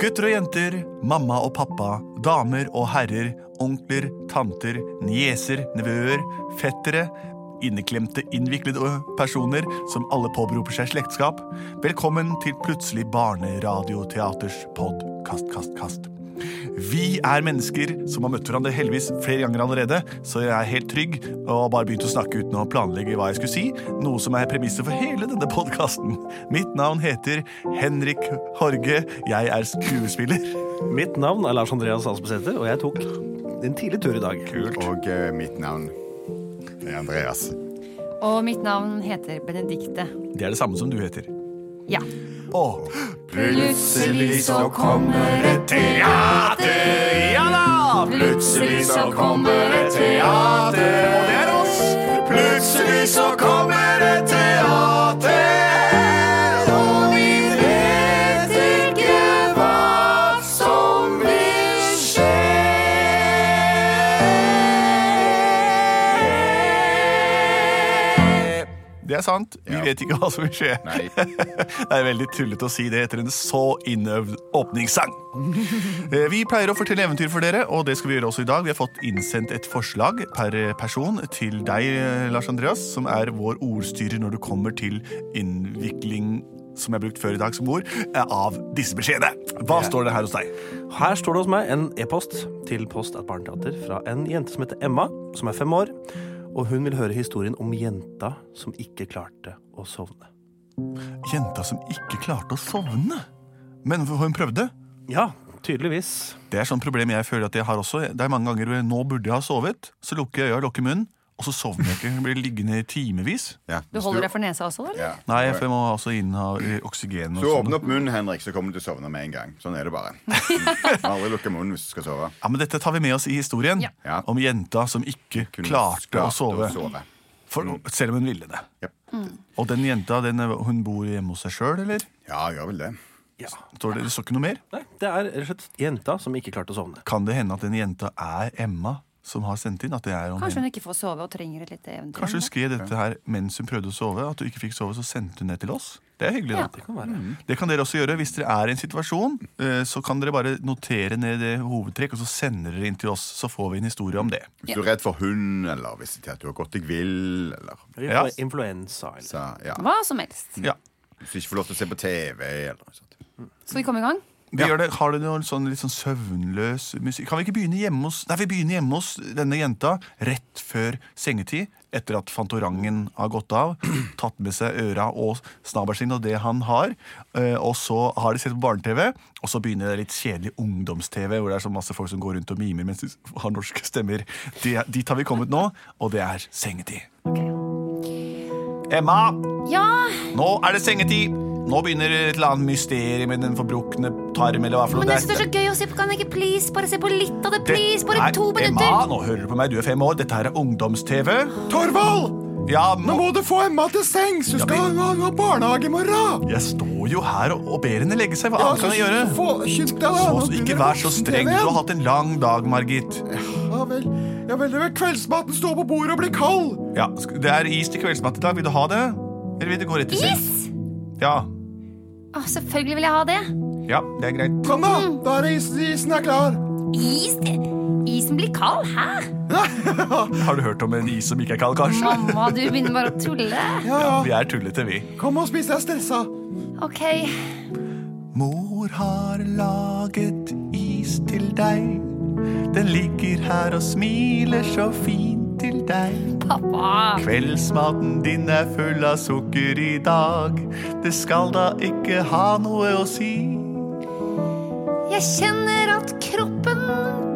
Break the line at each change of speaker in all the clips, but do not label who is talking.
Gutter og jenter, mamma og pappa, damer og herrer, onkler, tanter, nieser, nevøer, fettere, inneklemte, innviklede personer som alle påberoper seg slektskap. Velkommen til Plutselig barneradioteaters pod Kast, kast, kast. Vi er mennesker som har møtt hverandre heldigvis flere ganger allerede, så jeg er helt trygg og har bare begynt å snakke uten å planlegge hva jeg skulle si, noe som er premisset for hele denne podkasten. Mitt navn heter Henrik Horge, jeg er skuespiller.
Mitt navn er Lars Andreas Asbesæter, og jeg tok en tidlig tur i dag.
Og eh, mitt navn er Andreas.
Og mitt navn heter Benedikte.
Det er det samme som du heter.
Ja.
Å,
Plutselig så kommer et teater.
ja da!
Plutselig så kommer et
Teater, og det er oss. Plutselig så kommer et teater, og vi vet ikke hva som vil skje. Det er sant. Vi
Ja.
vet ikke hva som vil skje.
Nei.
Det er veldig tullete å si det etter en så innøvd åpningssang. Eh, Vi pleier å fortelle eventyr for dere, og det skal vi gjøre også i dag. Vi har fått innsendt et forslag per person til deg, eh, Lars Andreas, som er vår ordstyrer når det kommer til innvikling som er brukt før i dag som ord, eh, av disse beskjedene. Hva står det her hos deg?
Her står det hos meg en e-post til Post at Barneteater fra en jente som heter Emma, som er fem år. Og hun vil høre historien om jenta som ikke klarte å sovne.
Jenta som ikke klarte å sovne. Men hun prøvde.
Ja, tydeligvis.
Det er sånn problem jeg føler at jeg har også. Det er mange ganger hvor jeg- nå burde jeg ha sovet, så lukker jeg øya og lukker munnen, og så sovner jeg ikke. Jeg blir liggende i timevis.
Ja.
Du holder deg for nesa også, da? eller?
ja.
Nei, for jeg må også inn ha eh, oksygen og
Så
sånn.
åpne opp munnen, Henrik, så kommer du til å sovne med en gang. Sånn er det bare. Mm. Aldri lukke munnen hvis du skal sove.
Ja, men Dette tar vi med oss i historien
Ja.
Ja.
om jenta som ikke
Kunne
klarte å
klart
sove.
sove. Mm.
For, selv om hun ville det.
Jep.
Og den jenta den, er- hun bor hjemme hos seg sjøl, eller?
Ja, gjør vel det.
Ja.
Står det, det står ikke noe mer?
Nei, det er rett og slett jenta som ikke klarte å sovne.
Kan det hende at den jenta er Emma som har sendt inn? At det er om
Kanskje
henne?
hun ikke får sove og trenger et lite eventyr?
Kanskje hun skrev dette her mens hun prøvde å sove? At hun ikke fikk sove, så sendte hun det til oss? Det er hyggelig.
Ja.
da.
Det kan være.
Det kan dere også gjøre. Hvis dere er i en situasjon, eh, så kan dere bare notere ned det hovedtrekk, og så sender dere inn til oss. Så får vi en historie om det.
Hvis du er redd for hund, eller hvis til at du har gått deg vill, eller
Ja.
Influ- Influensa. Eller.
så, ja.
Hva som helst.
Ja.
Hvis du ikke får lov til å se på TV, eller noe sånt.
Skal vi komme i gang?
Vi gjør det. Har du noen sånn litt sånn søvnløs musikk? Kan vi ikke begynne hjemme hos Nei, vi begynner hjemme hos denne jenta rett før sengetid. Etter at Fantorangen har gått av, tatt med seg øra og snabelen sin og det han har. eh, Og så har de sett på barne-TV, og så begynner det litt kjedelig ungdoms-TV, hvor det er så masse folk som går rundt og mimer mens de har norske stemmer. Det- Dit har vi kommet nå, og det er sengetid. Emma!
Ja,
Nå er det sengetid. Nå begynner et eller annet mysterium med den forbrukne tarm. eller hva for noe
men jeg
det
synes
er.
det er så gøy å se på. Kan jeg ikke please bare se på litt av det?
Det-
Please, bare
Nei,
to
Emma,
minutter.
nå hører du på meg. Du er fem år. Dette her er ungdoms-TV.
Torvald!
Ja, nå,
du få Emma til sengs! Hun
skal Ja,
ha barnehage i morgen!
jeg står jo her og, og ber henne legge seg. Hva annet kan jeg gjøre? Så, så, ikke vær så streng. Du har hatt en lang dag, Margit.
Ja vel. Ja vel, det er kveldsmaten står på bordet og blir kald.
Ja, sk- Det er is til kveldsmat i dag. Vil du ha det? Eller vil du gå rett til sengs?
Yes!
Ja.
Å, selvfølgelig vil jeg ha det.
ja, det er greit.
Kom da, da er isen, isen er klar.
Is? Isen blir kald. Hæ?
Har du hørt om en is som ikke er kald, kanskje?
Mamma, du begynner bare å tulle.
Ja, vi er tullete, vi.
Kom og spis, jeg er stressa.
OK.
Mor har laget is til deg. Den ligger her og smiler så fint til deg.
Pappa.
Kveldsmaten din er full av sukker i dag. Det skal da ikke ha noe å si.
Jeg kjenner at kroppen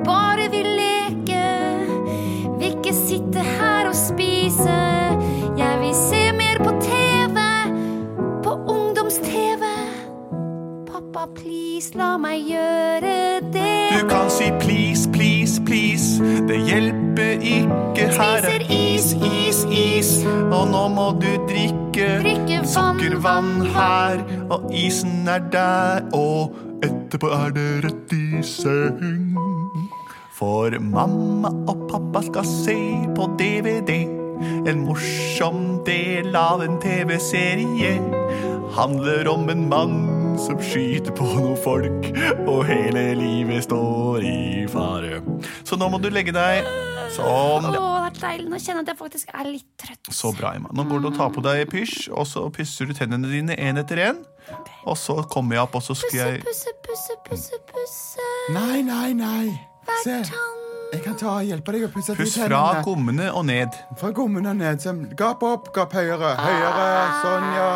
bare vil leke. Vil ikke sitte her og spise. Jeg vil se mer på TV. På ungdoms-TV. Pappa, please, la meg gjøre
Du
det.
kan si please, please, please. Det hjelper ikke. Her er is, is, is. Og nå må du drikke
Drikke vann,
sukkervann her. Og isen er der, og etterpå er det rett i seng. For mamma og pappa skal se på DVD. En morsom del av en TV-serie handler om en mann som skyter på noen folk, og hele livet står i fare. Så nå må du legge deg sånn.
Å, det er deilig. Nå kjenner jeg at jeg faktisk er litt trøtt.
Så bra, Emma. Nå går du og tar på deg pysj, og så pusser du tennene dine én etter én. Og så kommer jeg opp, og så skal
Pusse,
jeg
pusse, pusse, pusse, pusse.
Nei, nei, nei. Se,
Tann.
jeg kan ta hjelpe deg å pusse de
Puss fra
tennene.
gommene og ned.
Fra gommene og ned. Sånn. Gap opp, gap høyere. Høyere. Sånn, ja.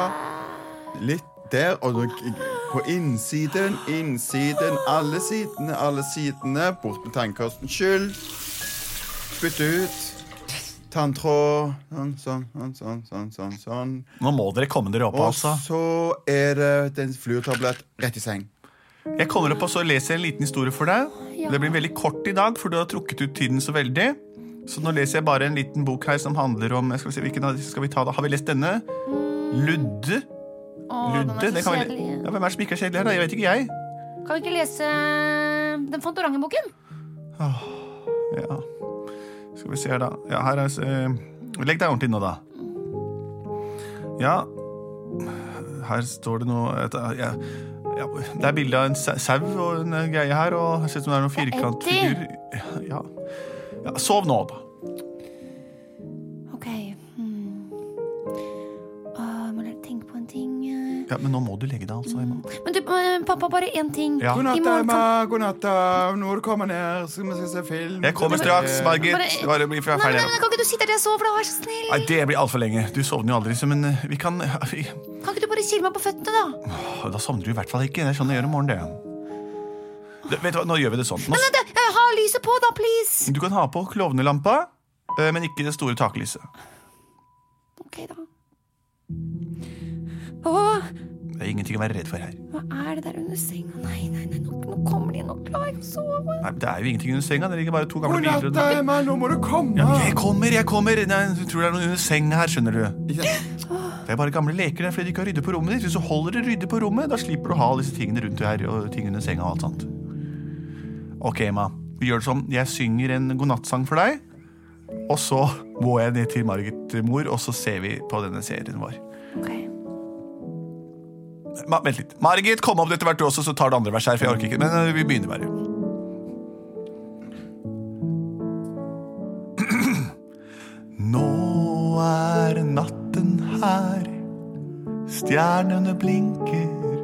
Litt der, og du, på innsiden, innsiden, alle sidene, alle sidene. Bort med tannkosten. Skyld. Spytt ut. Tanntråd. Sånn, sånn, sånn, sånn, sånn. sånn, sånn.
Nå må dere komme dere opp,
Og
altså.
så er det en fluortablett rett i seng.
Jeg kommer opp og så leser jeg en liten historie for deg.
Ja.
Det blir veldig kort i dag, for du har trukket ut tiden så veldig. Så nå leser jeg bare en liten bok her som handler om jeg skal se, hvilken av disse skal vi ta da? Har vi lest denne? Ludde?
Mm. Å, den
Ludde?
er
Det
så
kan vi...
kjedelig.
ja, hvem er det som ikke er kjedelig her, da? Jeg vet ikke, jeg.
Kan vi ikke lese den Fantorangen-boken?
Ja. Skal vi se her, da. Ja, her er eh, Legg deg ordentlig nå, da. Ja Her står det noe et, eh, ja, ja, Det er bilde av en sa- sau og en eh, greie her, og det ser ut som det er noen firkantfigur. Ja. ja. Sov nå, da.
Ok. Hmm. Åh, må dere tenke på en ting. eh.
Ja, Men nå må du legge deg, altså. Emma.
Men du, eh, pappa, bare én ting.
Ja.
God
I
natt,
morgen
Emma.
kan-
God natt. da. Nå må du komme ned, så skal vi se film.
Jeg kommer straks, Margit.
Bare-
Bare bli fra ferdig.
Nei, men, nei, men, Kan ikke du sitte der jeg sover, da? Vær så snill.
Nei, det blir altfor lenge. Du sovner jo aldri, så men eh, vi kan vi,
Kan ikke du bare kile meg på føttene, da?
Åh, Da sovner du i hvert fall ikke. Det er sånn jeg gjør om morgenen, det. det. Vet du hva, nå gjør vi det sånn. Nå
Men, det- eh, ha lyset på, da, please.
Du kan ha på klovnelampa, eh, men ikke det store taklyset.
Ok, da. Åh,
Det er ingenting å være redd for her.
hva er det der under senga? Nei, nei, nei, nå, nå kommer de. Nå klarer jeg ikke å sove.
Nei, Det er jo ingenting under senga. Det ligger bare to gamle
God natt,
biler.
da,
og-
Emma. Nå må du komme.
Jeg kommer, jeg kommer! Nei, du tror det er noen under senga her, skjønner du. Det er bare gamle leker der fordi du ikke har ryddet på rommet ditt. Hvis du holder det ryddig på rommet, da slipper du å ha alle disse tingene rundt deg her og ting under senga og alt sånt. Ok, Emma. Vi gjør det sånn. Jeg synger en godnattsang for deg. Og så må jeg ned til Margit mor, og så ser vi på denne serien vår.
Ok.
Ma vent litt. Margit, kom opp etter hvert du også, så tar du andre vers her. For jeg orker ikke. Men eh, vi begynner bare. Nå er natten her. Stjernene blinker.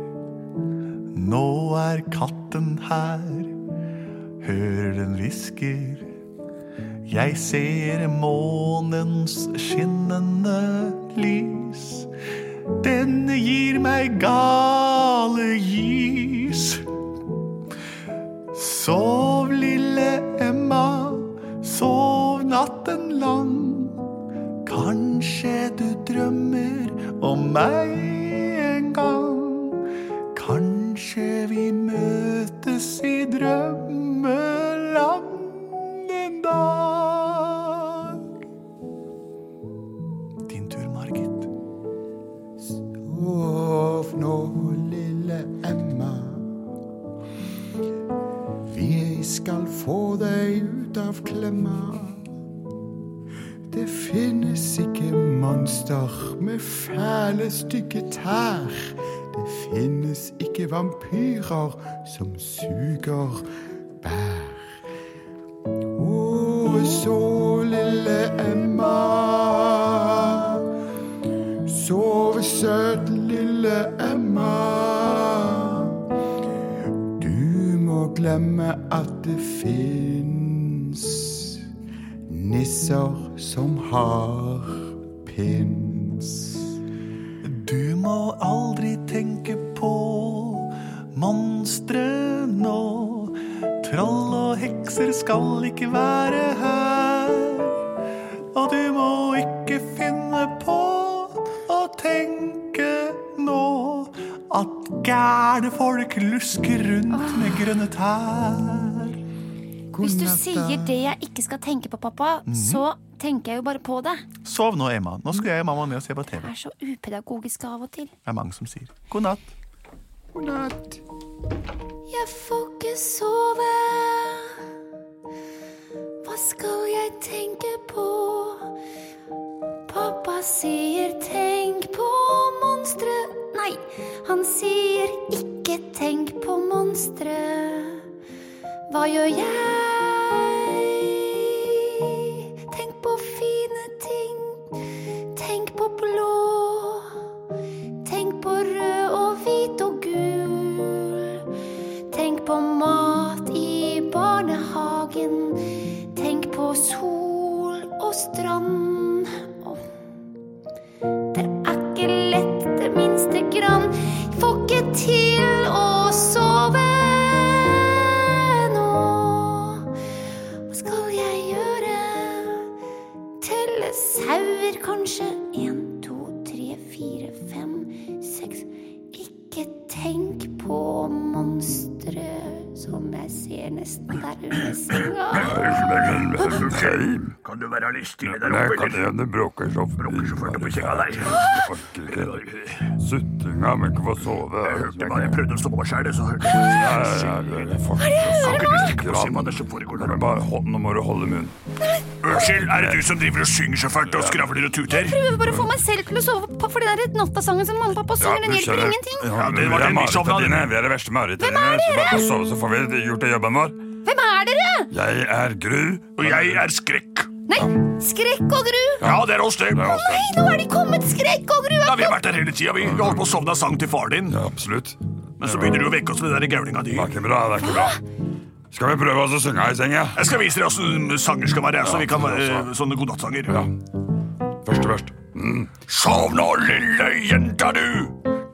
Nå er katten her. Hører den hvisker. Jeg ser månens skinnende lys. Denne gir meg gale gys. Sov, lille Emma, sov natten lang. Kanskje du drømmer om meg en gang. Kanskje vi møtes i drømmeland en dag. Din tur, Margit.
Sov nå, lille Emma. Vi skal få deg ut av klemma. Det finnes ikke monster med fæle, stygge tær. Det finnes ikke vampyrer som suger bær. Å, så lille Emma. Sove søt, lille Emma. Du må glemme at det fins nisser som har pins.
Du må aldri tenke på monstre nå. Troll og hekser skal ikke være her. Og du må ikke finne på å tenke nå at gærne folk lusker rundt med grønne tær.
Hvis du sier det jeg ikke skal tenke på, pappa,
Mhm.
så tenker jeg jo bare på det.
Sov nå, Emma. Nå skal jeg og mamma ned og se på TV.
Det er så upedagogisk av og til.
Det er mange som sier god natt.
God natt.
Jeg får ikke sove. Hva skal jeg tenke på? Pappa sier tenk på monstre Nei, han sier ikke monstre. Hva gjør jeg? Tenk på fine ting. Tenk på blå. Tenk på rød og hvit og gul. Tenk på mat i barnehagen. Tenk på sol og strand. Åh. Det er ikke lett det minste grann. Får ikke til å sove nå. Hva skal jeg gjøre? Telle sauer, kanskje? Én, to, tre, fire, fem, seks. Ikke tenk på monstre som jeg ser nesten der under senga.
Kan du være listig der oppe? Kan hende bråker så bråker så fort på senga der. Suttinga, men ikke få sove. Jeg hørte bare jeg prøvde å stå på meg sjæl, så hørte jeg Kan ikke du stikke på Simon, det som foregår der? Bare hold, nå må du holde munn. Unnskyld, er det du som driver og synger så fælt og skravler og tuter?
prøver bare å få meg selv til å sove på, for den der nattasangen som mamma og pappa synger, den hjelper ingenting.
Ja, det var det marerittene dine. Vi er det verste marerittene dine. Så bare få sove, så får vi gjort det jobben vår.
Hvem er dere?
Jeg er Gru.
Og jeg er skrekk.
Nei, skrekk og gru!
Ja, det er oss, det.
Det er
Ja,
oss, det.
Nei, nå er de kommet, skrekk og gru!
vi har vært der hele tida. Vi Vi holdt på å sovne av sang til far din.
Ja, absolutt.
Men så begynner du å vekke oss med den der gaulinga di.
Det er ikke bra, det er ikke bra. Skal vi prøve oss å synge i senga?
Jeg skal vise dere åssen eh, sanger skal være. Så vi kan være
Ja,
eh, sånne godnattsanger.
Ja. Første først. Mm.
Sov nå, lille jenta du.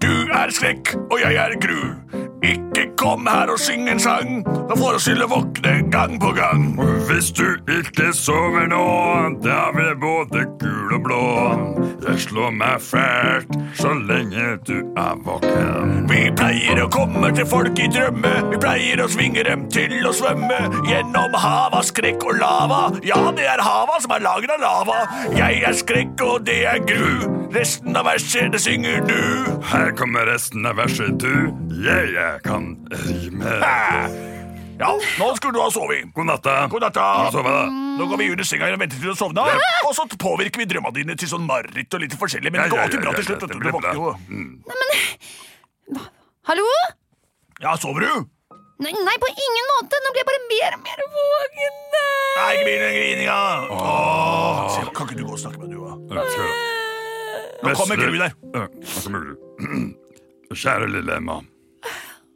Du er skrekk, og jeg er gru. Ikke kom her og syng en sang. Da får oss til å våkne gang på gang.
Og Hvis du ikke sover nå, da blir både gul og blå. Jeg slår meg fælt så lenge du er våken.
Vi pleier å komme til folk i drømme. Vi pleier å svinge dem til å svømme. Gjennom hav av skrekk og lava. Ja, det er hava som er laget av lava. Jeg er skrekk, og det er gru. Resten av verset, det synger du.
Her kommer resten av verset, du. Jeg, jeg kan rime.
Ja, nå skulle du ha sovet.
God natta.
God natta.
Kan du sove, da?
Nå går vi under senga og venter til du sovner, og så påvirker vi drømmene dine til sånn mareritt og litt forskjellig, men det går alltid bra til slutt. vet
Det
Du Du
blir bra.
våkner jo.
Hallo?
Ja, sover du?
Nei, nei, på ingen måte. Nå blir jeg bare mer og mer våken. Nei.
Nei, ikke begynn med grininga. Åh. Se, Kan ikke du gå og snakke med du, da?
Ja, skal du.
Nå kommer Gru der.
Ja, nå kommer Gru. Kjære lille Emma.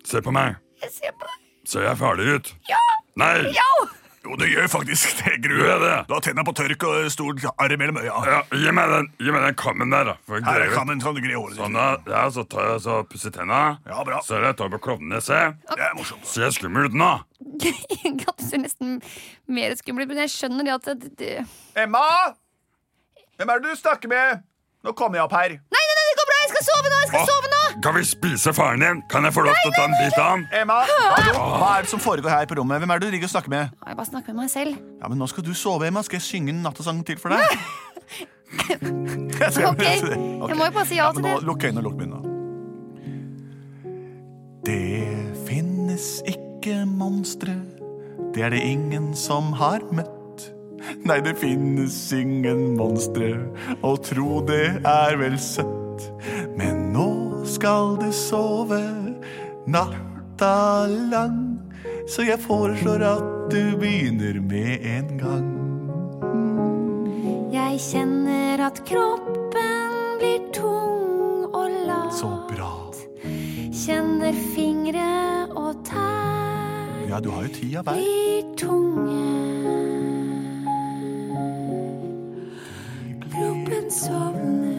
Se på meg.
Jeg ser på deg.
Ser jeg farlig ut?
Ja!
Nei!
Ja!
Jo, det gjør faktisk det, Gru.
Gjør jeg det?
Du har tenna på tørk og stor arr mellom øya.
Ja, gi meg den, gi meg den kammen der, da. For jeg
Her
greier
er
det.
kammen, kan du gre håret
Sånn,
ditt.
da. Ja, så tar jeg så pusser tenna.
Ja, bra.
Så jeg tar på klovnene, se.
Det er morsomt.
Ser jeg skummel ut nå?
Jeg ser nesten mer skummel ut, men jeg skjønner det at det, det.
Emma! Hvem er det du snakker med? Nå kommer jeg opp her.
Nei, nei, nei, det går bra! Jeg skal sove nå! Jeg skal
Åh,
sove nå!
Kan vi spise faren din? Kan jeg få lov til å ta en bit av han?
Emma, hallo? Hva er det som foregår her på rommet? Hvem er det du ligger og snakker med?
Å, Jeg bare snakker med meg selv.
Ja, men Nå skal du sove, Emma. Skal jeg synge en nattasang til for deg? Jeg skal-
Ok, jeg må jo bare si ja
altså, men
til det.
Nå, lukk øynene og lukk munnen. nå. Det finnes ikke monstre. Det er det ingen som har møtt. Nei, det finnes ingen monstre, og tro det er vel søtt. Men nå skal du sove natta lang, så jeg foreslår at du begynner med en gang.
Jeg kjenner at kroppen blir tung og lat.
Så bra.
Kjenner fingre og tær.
Ja, du har jo tida hver.
blir tunge. Kroppen sovner.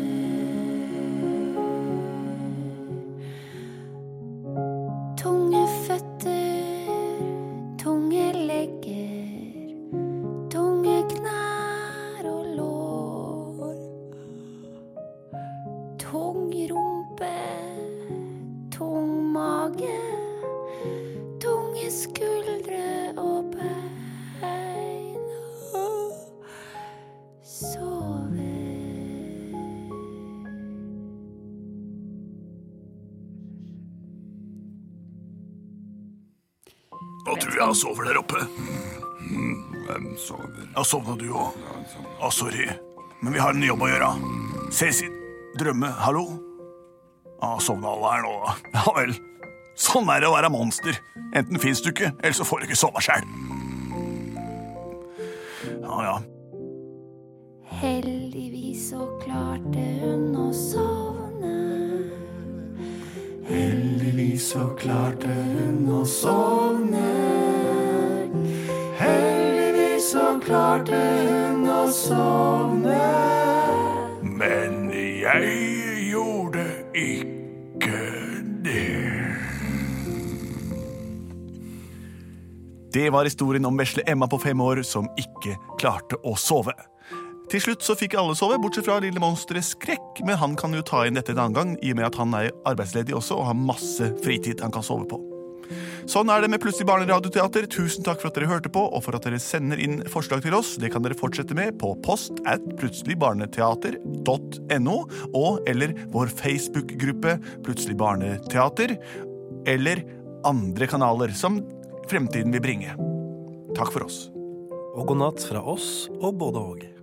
Tunge føtter, tunge legger, tunge knær og lår. Tung rumpe, tung mage. Tunge skuldre og bein og sover.
Nå tror jeg han sover der oppe.
Hvem sover?
Ja, sovna du òg.
Ja, sånn.
Å, sorry. Men vi har en jobb å gjøre. Se sitt drømme. Hallo? Ja, sovna alle her nå, da? Ja vel.
Sånn er det å være monster. Enten fins du ikke, eller så får du ikke sove sjæl. Ja, ja.
Heldigvis så klarte hun å sovne.
Heldigvis så klarte hun å sovne. Heldigvis så klarte hun å sovne.
Men jeg gjorde ikke det.
Det var historien om vesle Emma på fem år som ikke klarte å sove. Til slutt så fikk alle sove, bortsett fra lille monsteret Skrekk. Men han kan jo ta inn dette en annen gang, i og med at han er arbeidsledig også og har masse fritid han kan sove på. Sånn er det med Plutselig barneradioteater. Tusen takk for at dere hørte på, og for at dere sender inn forslag til oss. Det kan dere fortsette med på post at plutseligbarneteater.no, og eller vår Facebook-gruppe Plutselig barneteater, eller andre kanaler som fremtiden vil bringe. Takk for oss.
Og god natt fra oss og både og.